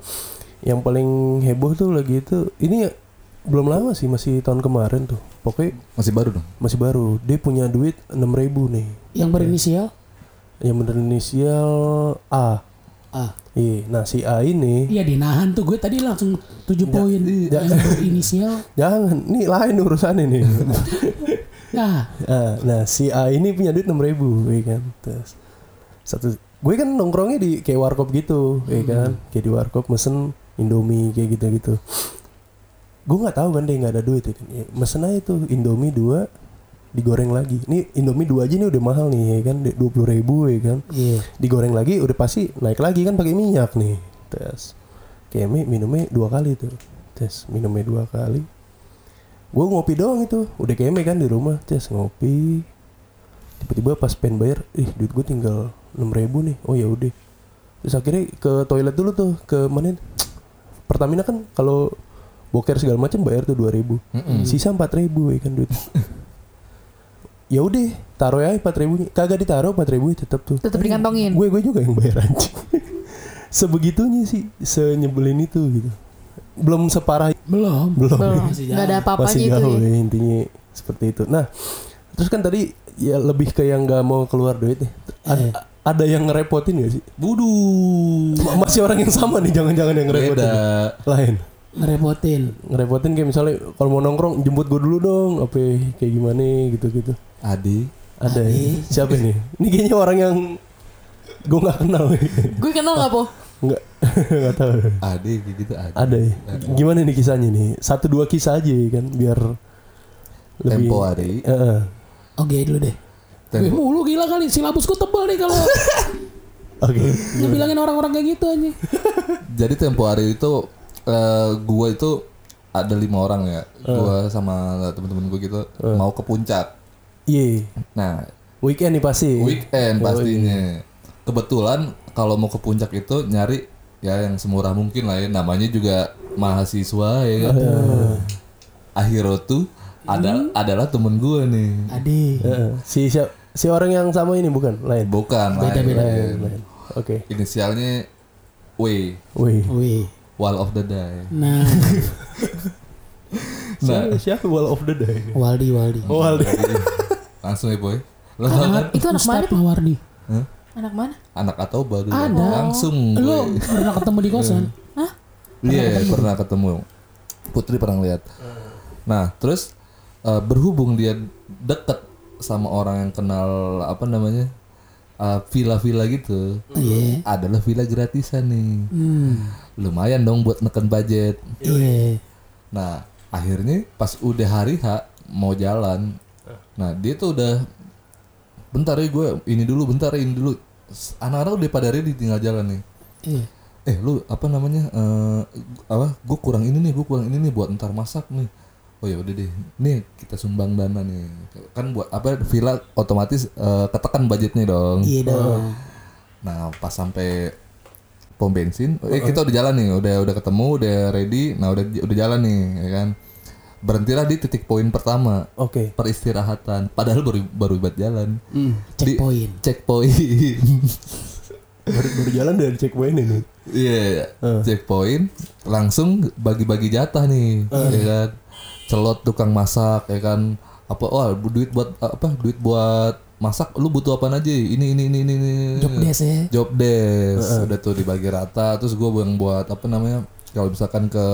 Speaker 2: yang paling heboh tuh lagi itu ini belum lama sih masih tahun kemarin tuh. Pokoknya
Speaker 4: Masih baru dong.
Speaker 2: masih baru. Dia punya duit 6.000 nih.
Speaker 3: Yang berinisial
Speaker 2: Yang berinisial A.
Speaker 3: A.
Speaker 2: Iya, nah si A ini
Speaker 3: Iya dinahan tuh gue tadi langsung 7 poin yang berinisial.
Speaker 2: jangan, ini lain urusannya nih.
Speaker 3: Nah,
Speaker 2: Ah, nah si A ini punya duit enam ribu, ya kan. Terus satu, gue kan nongkrongnya di kayak warkop gitu, ya kan. Kayak di warkop mesen Indomie kayak gitu gitu. Gue nggak tahu kan dia nggak ada duit, ya kan. Ya, mesen aja tuh Indomie dua digoreng lagi. Ini Indomie dua aja nih udah mahal nih, ya kan. Dua puluh ribu, ya kan.
Speaker 3: iya.
Speaker 2: Digoreng lagi udah pasti naik lagi kan pakai minyak nih. Terus kayak mi- minumnya dua kali tuh. Terus minumnya dua kali gue ngopi doang itu udah keme kan di rumah Ces ngopi tiba-tiba pas pengen bayar ih duit gue tinggal enam ribu nih oh ya udah terus akhirnya ke toilet dulu tuh ke mana Pertamina kan kalau boker segala macam bayar tuh dua ribu sisa empat ribu ya kan duit ya udah taruh ya empat ribunya kagak ditaruh empat ribu tetap tuh Iya.
Speaker 5: Tetep dikantongin.
Speaker 2: gue gue juga yang bayar anjing sebegitunya sih senyebelin itu gitu belum separah
Speaker 3: Belum.
Speaker 2: belum
Speaker 5: Belum.
Speaker 3: Masih
Speaker 5: Nggak ada apa-apanya
Speaker 2: masih
Speaker 5: itu
Speaker 2: jauh
Speaker 5: ya.
Speaker 2: ya, intinya seperti itu nah terus kan tadi ya lebih ke yang nggak mau keluar duit nih A-
Speaker 3: Eh.
Speaker 2: ada yang ngerepotin gak sih
Speaker 4: Budu.
Speaker 2: Ma- masih orang yang sama nih jangan-jangan yang ngerepotin
Speaker 4: Beda.
Speaker 2: lain
Speaker 3: Ngerepotin.
Speaker 2: ngerepotin kayak misalnya kalau mau nongkrong jemput gue dulu dong apa kayak gimana gitu-gitu
Speaker 4: Adi.
Speaker 2: ada ya? siapa nih ini kayaknya orang yang gue nggak kenal
Speaker 5: Gue kenal gak, Po?
Speaker 2: nggak nggak tahu
Speaker 4: Adi kayak gitu Adi.
Speaker 2: ada ya gimana nih kisahnya nih satu dua kisah aja ya kan biar lebih
Speaker 4: Tempo hari.
Speaker 2: Heeh.
Speaker 3: Oke dulu deh. Gue
Speaker 4: Tempo.
Speaker 3: mulu gila kali silabusku tebal nih kalau
Speaker 2: oke
Speaker 3: ngebilangin orang-orang kayak gitu aja.
Speaker 4: Jadi tempo hari itu eh, gua itu ada lima orang
Speaker 2: Eh.
Speaker 4: ya. Gua sama temen-temen gua gitu mau ke puncak.
Speaker 2: Iya,
Speaker 4: Nah,
Speaker 2: weekend nih pasti.
Speaker 4: weekend pastinya. Kebetulan kalau mau ke puncak itu nyari ya yang semurah mungkin lah ya. Namanya juga mahasiswa ya kan. Akhirnya tuh ada adalah temen gua nih.
Speaker 3: Adi.
Speaker 2: Heeh. si siap- si orang yang sama ini bukan lain.
Speaker 4: Bukan
Speaker 3: Beda-beda.
Speaker 4: lain.
Speaker 2: Lain. Oke.
Speaker 4: Inisialnya W.
Speaker 2: Wih.
Speaker 3: Wih.
Speaker 4: Wall of the Day.
Speaker 3: Nah,
Speaker 4: Nah,
Speaker 2: Siapa- Siapa Wall of the Day?
Speaker 3: Waldi Waldi.
Speaker 2: Wall
Speaker 4: langsung ya boy. Lo tau kan?
Speaker 5: Itu anak mana
Speaker 3: Ustadz Mawardi.
Speaker 4: Hah?
Speaker 5: Anak mana?
Speaker 4: anak atau baru
Speaker 3: Ada.
Speaker 4: langsung
Speaker 3: Lu
Speaker 4: gue.
Speaker 3: pernah ketemu di kosan?
Speaker 5: Hah?
Speaker 4: Iya pernah ketemu Putri pernah lihat Nah terus eh, berhubung dia deket sama orang yang kenal apa namanya eh, villa-villa gitu
Speaker 3: Iya.
Speaker 4: adalah villa gratisan nih
Speaker 3: Hmm.
Speaker 4: lumayan dong buat neken budget
Speaker 3: Iya.
Speaker 4: Nah, akhirnya pas udah hari H mau jalan. Nah, dia tuh udah bentar ya gue ini dulu bentar ya ini dulu. S- Anak-anak udah pada ready tinggal jalan nih.
Speaker 3: Iya.
Speaker 4: Eh, lu apa namanya? eh, apa? Gue kurang ini nih, gue kurang ini nih buat ntar masak nih. Oh ya udah deh. Nih kita sumbang dana nih. Kan buat apa villa otomatis eh, ketekan budgetnya dong.
Speaker 3: Iya dong.
Speaker 4: Nah, pas sampai pom bensin,
Speaker 3: Oh,
Speaker 4: eh kita udah jalan nih, udah udah ketemu, udah ready, nah udah udah jalan nih, ya kan. Berhentilah di titik poin pertama,
Speaker 2: Oke.
Speaker 4: peristirahatan. Padahal baru baru buat jalan.
Speaker 3: Hmm. Checkpoint.
Speaker 4: Checkpoint.
Speaker 2: Baru, baru jalan dari checkpoint ini.
Speaker 4: Iya,
Speaker 2: Eh.
Speaker 4: checkpoint. Langsung bagi-bagi jatah nih,
Speaker 2: Eh.
Speaker 4: ya kan. Celot tukang masak, ya kan. Apa wah duit buat apa? Duit buat masak lu butuh apa aja? Ini ini ini ini. ini.
Speaker 3: Job desk ya.
Speaker 4: job desk
Speaker 2: Eh,
Speaker 4: udah tuh dibagi rata terus gue yang buat apa namanya kalau misalkan ke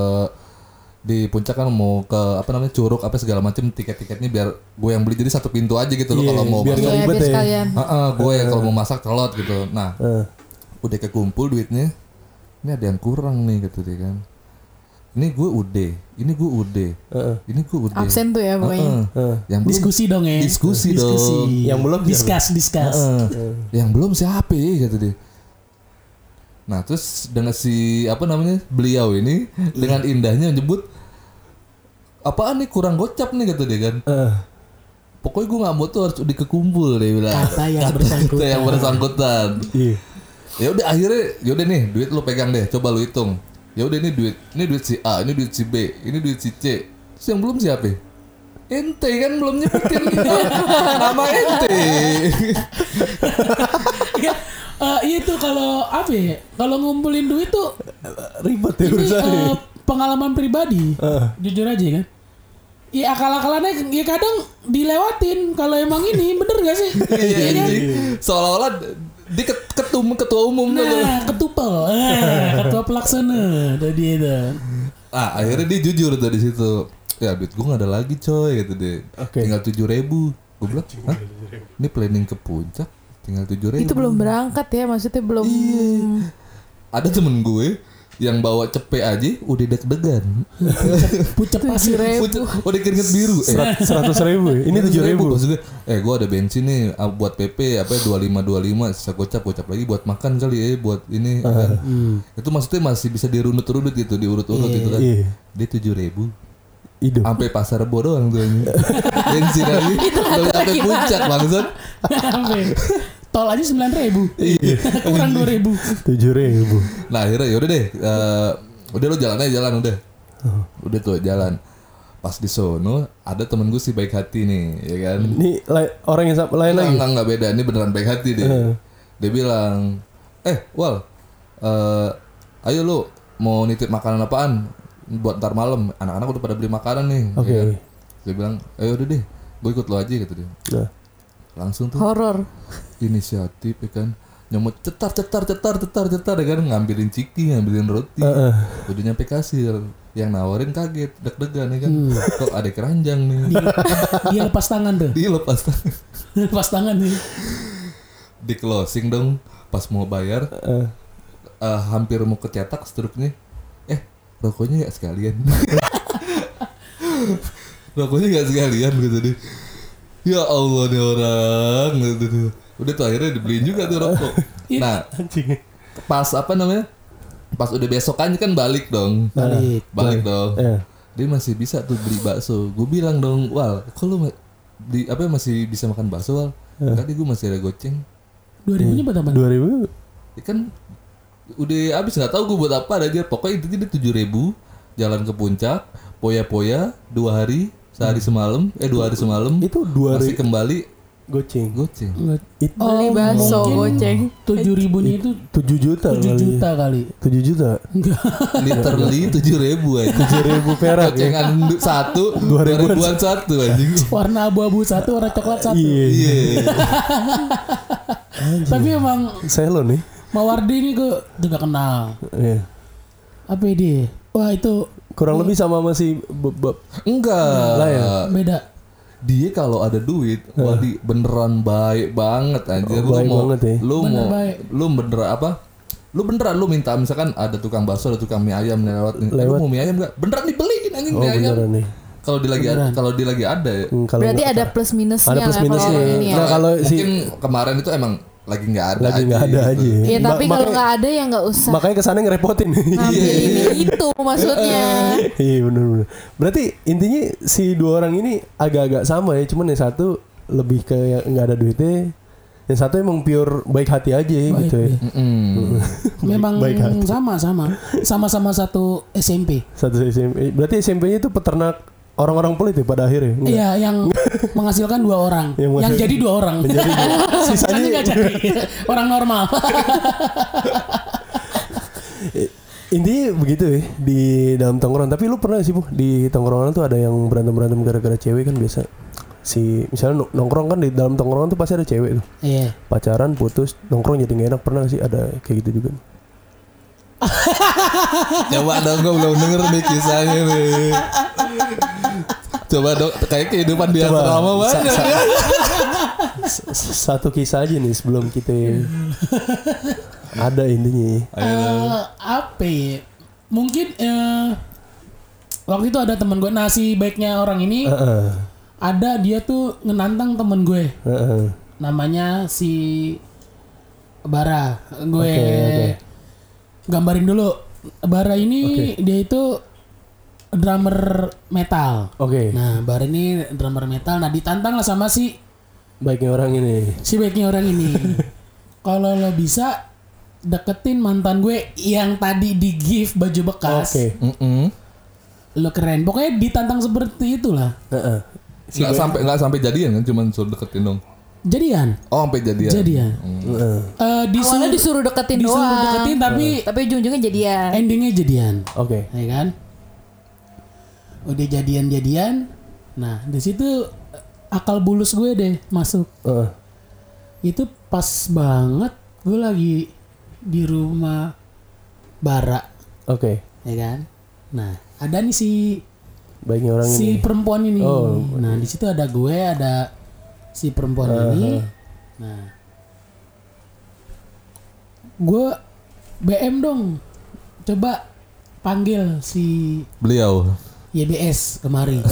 Speaker 4: di puncak kan mau ke apa namanya curug apa segala macam tiket-tiketnya biar gue yang beli jadi satu pintu aja gitu loh
Speaker 2: Iya,
Speaker 4: kalau mau
Speaker 2: biar
Speaker 4: masak
Speaker 2: nggak Eh,
Speaker 5: Iya,
Speaker 2: ribet
Speaker 5: biar
Speaker 2: ya.
Speaker 5: sekalian.
Speaker 4: Heeh, gue yang kalau mau masak telot gitu nah
Speaker 2: Eh,
Speaker 4: udah kekumpul duitnya ini ada yang kurang nih gitu dia kan ini gue udah ini gue udah
Speaker 2: Heeh.
Speaker 4: ini gue udah
Speaker 5: Absen tuh ya pokoknya.
Speaker 2: eh.
Speaker 4: yang belum
Speaker 3: Diskusi dong ya.
Speaker 4: Diskusi dong.
Speaker 2: Yang belum
Speaker 3: discuss, discuss.
Speaker 4: Heeh.
Speaker 3: Eh.
Speaker 4: yang belum siapa ya gitu dia nah terus dengan si apa namanya beliau ini dengan indahnya nyebut apaan nih kurang gocap nih kata dia kan
Speaker 2: Eh,
Speaker 4: pokoknya gue nggak mau tuh harus dikekumpul dia bilang
Speaker 3: Kata yang
Speaker 4: Kata yang
Speaker 3: bersangkutan.
Speaker 4: bersangkutan
Speaker 2: iya.
Speaker 4: ya udah akhirnya ya udah nih duit lu pegang deh coba lu hitung ya udah ini duit ini duit si A ini duit si B ini duit si C terus yang belum siapa ente kan belum nyebutin nama ente
Speaker 3: Iya. Eh, iya tuh kalau apa ya? Kalau ngumpulin duit tuh
Speaker 2: Ribet ya
Speaker 3: ini
Speaker 2: urusan
Speaker 3: eh, pengalaman pribadi.
Speaker 2: Eh.
Speaker 3: Jujur aja kan. Ya akal-akalannya ya kadang dilewatin kalau emang ini bener gak sih?
Speaker 4: Iya,
Speaker 3: Iya kan?
Speaker 4: anjing. seolah-olah di ket- ketum ketua umum tuh.
Speaker 3: Nah, ketupel. Eh, ketua pelaksana tadi itu.
Speaker 4: Nah, akhirnya dia jujur tuh di situ. Ya duit gue gak ada lagi coy gitu deh.
Speaker 2: Oke.
Speaker 4: Tinggal tujuh ribu. Gue bilang, Hah? ini planning ke puncak tinggal tujuh ribu.
Speaker 5: Itu belum berangkat ya, maksudnya belum.
Speaker 2: Iya.
Speaker 4: Iya. Ada temen gue yang bawa cepe aja udah deg-degan.
Speaker 3: Pucet pasir. eh.
Speaker 4: Pucet, udah keringet biru. Eh,
Speaker 2: Seratus ribu. ya? Ini tujuh ribu.
Speaker 4: maksud gue, eh gue ada bensin nih ah, buat PP apa dua lima dua lima sisa gocap gocap lagi buat makan kali ya buat ini
Speaker 2: Ah.
Speaker 4: kan.
Speaker 2: Hmm.
Speaker 4: itu maksudnya masih bisa dirunut-runut gitu diurut-urut gitu kan
Speaker 2: Iya.
Speaker 4: dia tujuh ribu
Speaker 2: Hidup.
Speaker 4: sampai pasar rebo doang tuh ini. bensin lagi baru sampai puncak maksud
Speaker 3: Sampai. Tol aja 9 ribu. Kurang 2 ribu.
Speaker 2: Tujuh ribu.
Speaker 4: nah akhirnya yaudah deh eh, udah lo jalan aja jalan udah
Speaker 2: Uh-huh.
Speaker 4: udah tuh jalan pas di sono ada temen gue si baik hati nih ya kan
Speaker 2: Ini lai- orang yang sama-
Speaker 4: Enggak,
Speaker 2: lain Hmm. lagi. Uh-huh.
Speaker 4: enggak, enggak beda. Ini beneran baik hati dia. Dia bilang, eh, Wal, eh, ayo lu mau nitip makanan apaan? Buat ntar malam. Anak-anak udah pada beli makanan nih. ya
Speaker 2: Oke.
Speaker 4: kan? Dia bilang, ayo udah deh, gue ikut lo aja gitu dia.
Speaker 2: Nah.
Speaker 4: Langsung tuh
Speaker 2: Oh.
Speaker 5: Horor.
Speaker 4: inisiatif ya kan. Nyomot cetar, cetar, cetar, cetar, cetar ya kan. Ngambilin ciki, ngambilin roti.
Speaker 2: eh.
Speaker 4: Udah nyampe kasir. Yang nawarin kaget, deg-degan ya kan. Kok ada keranjang nih.
Speaker 3: Dia lepas tangan tuh.
Speaker 4: Dilepas tangan.
Speaker 3: Lepas tangan nih.
Speaker 4: di closing dong pas mau bayar eh, hampir mau kecetak struknya eh rokoknya nggak sekalian rokoknya nggak sekalian gitu deh ya Allah nih orang gitu tuh. udah tuh akhirnya dibeliin juga tuh rokok nah
Speaker 2: Anjing.
Speaker 4: pas apa namanya pas udah besokannya kan balik dong
Speaker 3: Balik.
Speaker 4: balik dong
Speaker 2: Eh.
Speaker 4: dia masih bisa tuh beli bakso gue bilang dong wal kok lu ma- di apa masih bisa makan bakso wal
Speaker 2: Eh.
Speaker 4: tadi gue masih ada goceng
Speaker 3: 2 ribunya buat apa?
Speaker 2: Dua ribu.
Speaker 4: ya kan udah abis nggak tahu gue buat apa ada aja pokoknya intinya dia tujuh ribu jalan ke puncak poya poya dua hari sehari semalam eh dua hari semalam
Speaker 2: Hmm. Itu dua
Speaker 4: masih
Speaker 2: ribu.
Speaker 4: kembali
Speaker 2: Goceng.
Speaker 4: Goceng.
Speaker 2: Itu
Speaker 6: Beli
Speaker 3: Oh,
Speaker 6: bakso goceng.
Speaker 3: Tujuh ribunya itu
Speaker 2: 7 juta
Speaker 3: 7
Speaker 2: kali.
Speaker 3: juta kali.
Speaker 2: 7 juta.
Speaker 3: Enggak.
Speaker 4: Literally tujuh ribu aja.
Speaker 2: 7000 perak ya.
Speaker 4: Gocengan du- satu, dua
Speaker 2: Dua ribuan.
Speaker 4: ribuan satu anjing.
Speaker 3: Warna abu-abu satu, warna coklat satu.
Speaker 2: Iya.
Speaker 4: Iya.
Speaker 3: Tapi emang
Speaker 2: Saya lo nih.
Speaker 3: Mawardi ini gue juga kenal.
Speaker 2: Iya.
Speaker 3: Apa ya dia? Wah itu
Speaker 6: Iya.
Speaker 2: Kurang lebih sama masih be- be-
Speaker 4: Enggak.
Speaker 2: Lah ya.
Speaker 3: beda.
Speaker 4: Dia kalau ada duit, wah di beneran baik banget anjir.
Speaker 2: Oh,
Speaker 4: lu
Speaker 2: baik
Speaker 4: mau,
Speaker 2: banget ya.
Speaker 4: lu
Speaker 3: Bener
Speaker 4: mau,
Speaker 3: baik.
Speaker 4: lu bener apa? Lu beneran lu minta misalkan ada tukang bakso, ada tukang mie ayam nih lewat. nih. Eh, Lu
Speaker 2: Lewat.
Speaker 4: mau mie ayam enggak? Beneran dibeliin
Speaker 6: Iya,
Speaker 4: anjing
Speaker 2: Oh
Speaker 4: mie ayam.
Speaker 2: beneran nih.
Speaker 4: Kalau dia lagi ada, kalau dia lagi ada ya.
Speaker 2: Hmm, kalau
Speaker 6: Berarti ada plus minusnya
Speaker 2: Ada plus
Speaker 6: lah kalau
Speaker 2: minusnya.
Speaker 6: ini ya.
Speaker 2: Nah, kalau si-
Speaker 4: mungkin kemarin itu emang lagi nggak ada
Speaker 2: lagi nggak ada
Speaker 4: gitu.
Speaker 2: aja.
Speaker 6: Ya
Speaker 2: Nah, Ma-
Speaker 6: tapi kalau
Speaker 2: makanya- Iya.
Speaker 6: nggak Iya. ada ya nggak usah.
Speaker 2: makanya kesannya ngerepotin.
Speaker 6: Ngambil ini itu maksudnya.
Speaker 2: Iya benar-benar. Berarti intinya si dua orang ini agak-agak sama ya, cuman yang satu lebih ke yang nggak ada duitnya, yang satu emang pure baik hati aja ya,
Speaker 3: Baik,
Speaker 2: gitu ya.
Speaker 3: iya.
Speaker 4: Mm-mm.
Speaker 3: Memang
Speaker 2: baik hati.
Speaker 3: sama-sama. Sama-sama satu SMP.
Speaker 2: Satu SMP. Berarti SMP-nya itu peternak orang-orang pelit ya pada akhirnya. Enggak.
Speaker 3: Iya yang menghasilkan dua orang.
Speaker 2: Yang
Speaker 3: yang
Speaker 2: menghasilkan-
Speaker 3: jadi dua orang.
Speaker 2: Menjadi
Speaker 3: Sisanya nggak jadi. Orang normal.
Speaker 2: intinya begitu ya di dalam tongkrongan. Tapi lu pernah nggak sih bu di tongkrongan tuh ada yang berantem-berantem gara-gara cewek kan biasa. Si misalnya nong- nongkrong kan di dalam tongkrongan tuh pasti ada cewek tuh.
Speaker 3: Iya.
Speaker 2: Pacaran putus nongkrong jadi nggak enak pernah nggak sih ada kayak gitu juga.
Speaker 4: coba dong gue belum denger nih kisahnya nih coba dong kayak kehidupan di
Speaker 2: Coba.
Speaker 4: asrama
Speaker 2: Sa-
Speaker 4: banget
Speaker 2: sa-
Speaker 4: ya.
Speaker 2: S- satu kisah aja nih sebelum kita ada intinya
Speaker 3: Eh, apa ya? Mungkin eh, waktu itu ada temen gue. Nasi baiknya orang ini
Speaker 2: Heeh,
Speaker 3: ada dia tuh ngenantang temen gue.
Speaker 2: heeh.
Speaker 3: namanya si Bara. Gue
Speaker 2: Oke, oke.
Speaker 3: gambarin dulu. Bara ini dia itu drummer metal.
Speaker 2: oke
Speaker 3: Nah, Bara ini drummer metal. Nah, ditantang lah sama si
Speaker 2: baiknya orang ini
Speaker 3: si baiknya orang ini. Kalau lo bisa deketin mantan gue yang tadi di gift baju
Speaker 2: oke
Speaker 3: bekas.
Speaker 4: Mm-mm.
Speaker 3: Lo keren. Pokoknya ditantang seperti itulah.
Speaker 2: Heeh.
Speaker 4: nggak sampai nggak sampai jadian kan cuman suruh deketin dong
Speaker 3: Jadian.
Speaker 4: oh sampai jadian
Speaker 3: Jadian.
Speaker 2: Heeh.
Speaker 3: Eh, disur-
Speaker 6: Awalnya disuruh deketin
Speaker 3: disuruh
Speaker 6: doang.
Speaker 3: deketin tapi
Speaker 6: Tapi ujung-ujungnya jadian.
Speaker 2: Iya,
Speaker 3: endingnya jadian.
Speaker 2: oke
Speaker 3: ya kan udah jadian-jadian nah di situ eh, akal bulus gue deh masuk
Speaker 2: Heeh.
Speaker 3: itu pas banget gue lagi di rumah bara
Speaker 2: oke
Speaker 3: ya kan nah ada nih si
Speaker 2: baiknya orang
Speaker 3: si
Speaker 2: ini
Speaker 3: perempuan ini
Speaker 2: Oh.
Speaker 3: nah di situ ada gue ada si perempuan ini nah gue bm dong coba panggil si
Speaker 4: beliau
Speaker 3: YBS kemari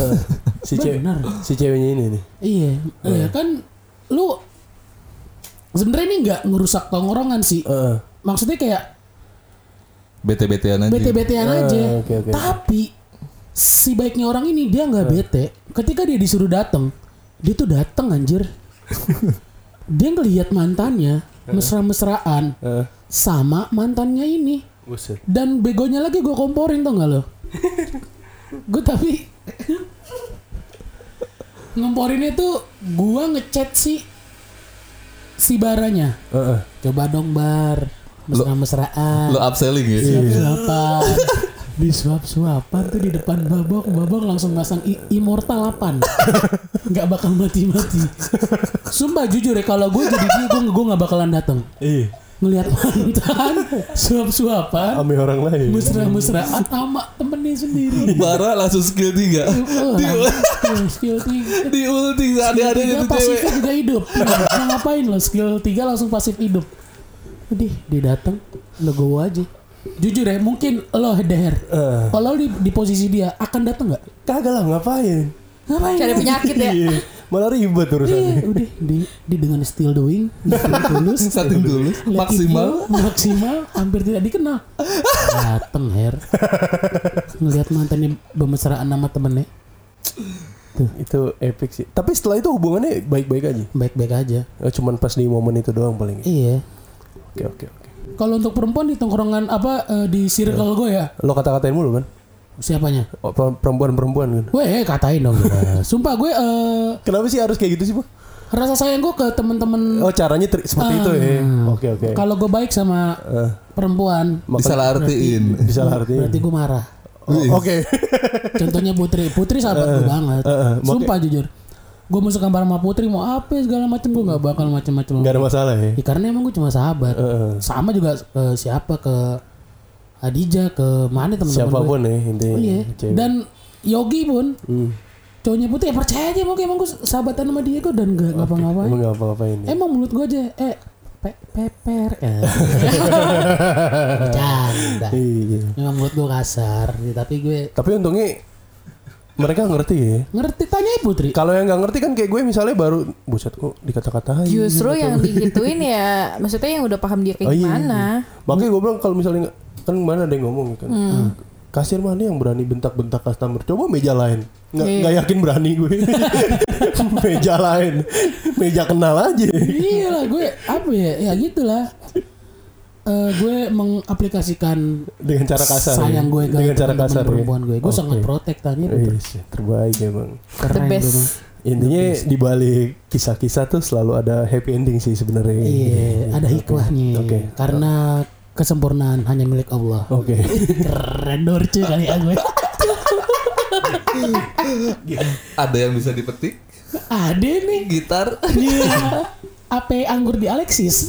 Speaker 2: si cewek
Speaker 3: Bener.
Speaker 2: si ceweknya ini nih
Speaker 3: Iya, iya kan lu sebenarnya ini nggak ngerusak tongkrongan sih.
Speaker 2: Heeh.
Speaker 3: Maksudnya kayak
Speaker 4: bete betean aja
Speaker 3: bete-betean
Speaker 2: Ah,
Speaker 3: aja.
Speaker 2: oke, oke.
Speaker 3: Tapi si baiknya orang ini dia nggak bete. Ketika dia disuruh datang, dia tuh datang anjir. dia ngelihat mantannya mesra-mesraan
Speaker 2: Heeh.
Speaker 3: sama mantannya ini.
Speaker 2: buset
Speaker 3: Dan begonya lagi gue komporin tuh nggak lo? gue tapi ngomporinnya tuh gue ngechat si si baranya.
Speaker 2: Heeh.
Speaker 3: Coba dong bar,
Speaker 4: lu
Speaker 3: mesra-mesraan.
Speaker 4: upselling ya
Speaker 3: Iya. Suap-suapan. Di suap-suapan tuh di depan babok, babok langsung pasang i- immortal 8. Nggak bakal mati-mati. Sumpah jujur ya kalau gue jadi dia gue gue nggak bakalan datang.
Speaker 2: iya
Speaker 3: Ngelihat mantan suap-suapan
Speaker 2: ame orang lain
Speaker 3: mesra-mesraan sama temennya sendiri.
Speaker 4: Bara langsung skill 3
Speaker 3: Wah, skill tiga.
Speaker 4: di ulti ada-ada
Speaker 3: Skill
Speaker 4: itu
Speaker 3: tiga
Speaker 4: cewek
Speaker 3: pasif juga hidup. Nah, ngapain lo skill 3 langsung pasif hidup. Udah, dia datang, lo go aja. Jujur ya, mungkin lo deher.
Speaker 2: Eh.
Speaker 3: Kalau di, di posisi dia akan datang nggak?
Speaker 2: kagak lah ngapain
Speaker 3: Ngapain?
Speaker 6: Cari penyakit ya.
Speaker 2: Iya. malah ribet
Speaker 3: Iya,
Speaker 2: urusannya
Speaker 3: udah di, di dengan still doing, di still tulus,
Speaker 4: satu dulu
Speaker 3: let it
Speaker 4: maksimal
Speaker 3: go, maksimal, hampir tidak dikenal. Dateng her, ngelihat mantannya bermesraan sama temennya,
Speaker 2: itu epic sih tapi setelah itu hubungannya baik-baik aja
Speaker 3: baik-baik aja.
Speaker 2: Eh, cuman pas di momen itu doang paling
Speaker 3: Iya.
Speaker 2: oke oke oke
Speaker 3: Kalau untuk perempuan di tongkrongan apa eh, di
Speaker 4: Iya.
Speaker 3: circle gue ya?
Speaker 2: lo kata-katain mulu kan
Speaker 3: Siapanya?
Speaker 2: Oh, perempuan-perempuan kan
Speaker 3: Gue eh, katain dong. Sumpah gue eh
Speaker 2: Kenapa sih harus kayak gitu sih, Pak?
Speaker 3: rasa sayang gue ke temen-temen
Speaker 2: Oh caranya ter- seperti itu ya. Oke oke.
Speaker 3: Ah.
Speaker 2: Eh,
Speaker 3: kalau gue baik sama perempuan
Speaker 4: Disalah artiin.
Speaker 2: Bisa lah artinya.
Speaker 3: berarti gue marah
Speaker 2: Oh, Oke.
Speaker 3: contohnya Putri Putri sahabat gue
Speaker 2: Eh,
Speaker 3: banget sumpah jujur gue mau suka bareng sama Putri mau apa segala macem gue nggak bakal macem-macem
Speaker 2: Gak ada masalah ya.
Speaker 3: Ya, karena emang gue cuma sahabat
Speaker 2: Heeh.
Speaker 3: sama juga ke siapa ke Adija ke mana teman-teman gue
Speaker 2: Siapapun ya intinya.
Speaker 3: Oh, iya.
Speaker 2: Cewek. Hmm.
Speaker 3: Dan Yogi pun cowoknya putih ya percaya aja emang emang gue sahabatan sama dia kok dan gak ngapa-ngapain.
Speaker 2: Emang gak apa-apain. ya?
Speaker 3: Emang mulut gue aja eh pe peper eh. bercanda.
Speaker 2: Iya.
Speaker 3: Emang mulut gue kasar, ya, tapi gue
Speaker 2: Tapi untungnya mereka ngerti ya.
Speaker 3: ngerti tanya ya Putri.
Speaker 2: Kalau yang nggak ngerti kan kayak gue misalnya baru buset kok dikata-katain.
Speaker 6: Justru yang digituin ya, maksudnya yang udah paham dia kayak
Speaker 2: Oh, iya.
Speaker 6: gimana.
Speaker 2: Makanya gue bilang kalau misalnya nggak- kan mana ada yang ngomong kan.
Speaker 3: Hmm.
Speaker 2: Kasir mana yang berani bentak-bentak customer? Coba meja lain. Nggak
Speaker 3: Iya.
Speaker 2: nggak yakin berani gue. meja lain. Meja kenal aja.
Speaker 3: iya lah gue apa ya ya gitulah. Eh gue mengaplikasikan
Speaker 2: Dengan cara kasar. ya?
Speaker 3: sayang gue ke
Speaker 2: dengan cara
Speaker 3: teman-teman
Speaker 2: kasar. ya?
Speaker 3: perempuan gue. Gue
Speaker 2: Oke.
Speaker 3: sangat protek tanya
Speaker 2: Iya,
Speaker 3: Putri.
Speaker 2: sih, terbaik emang.
Speaker 6: The
Speaker 3: Keren
Speaker 6: best.
Speaker 3: gue mah.
Speaker 2: Intinya di balik kisah-kisah tuh selalu ada happy ending sih sebenarnya.
Speaker 3: Iya, ada hikmahnya.
Speaker 2: Oke.
Speaker 3: Karena kesempurnaan hanya milik Allah.
Speaker 2: Oke.
Speaker 3: Keren dorce kali ya gue.
Speaker 4: Ada yang bisa dipetik?
Speaker 3: Ada nih.
Speaker 4: Gitar?
Speaker 3: Iya. Apa anggur di Alexis?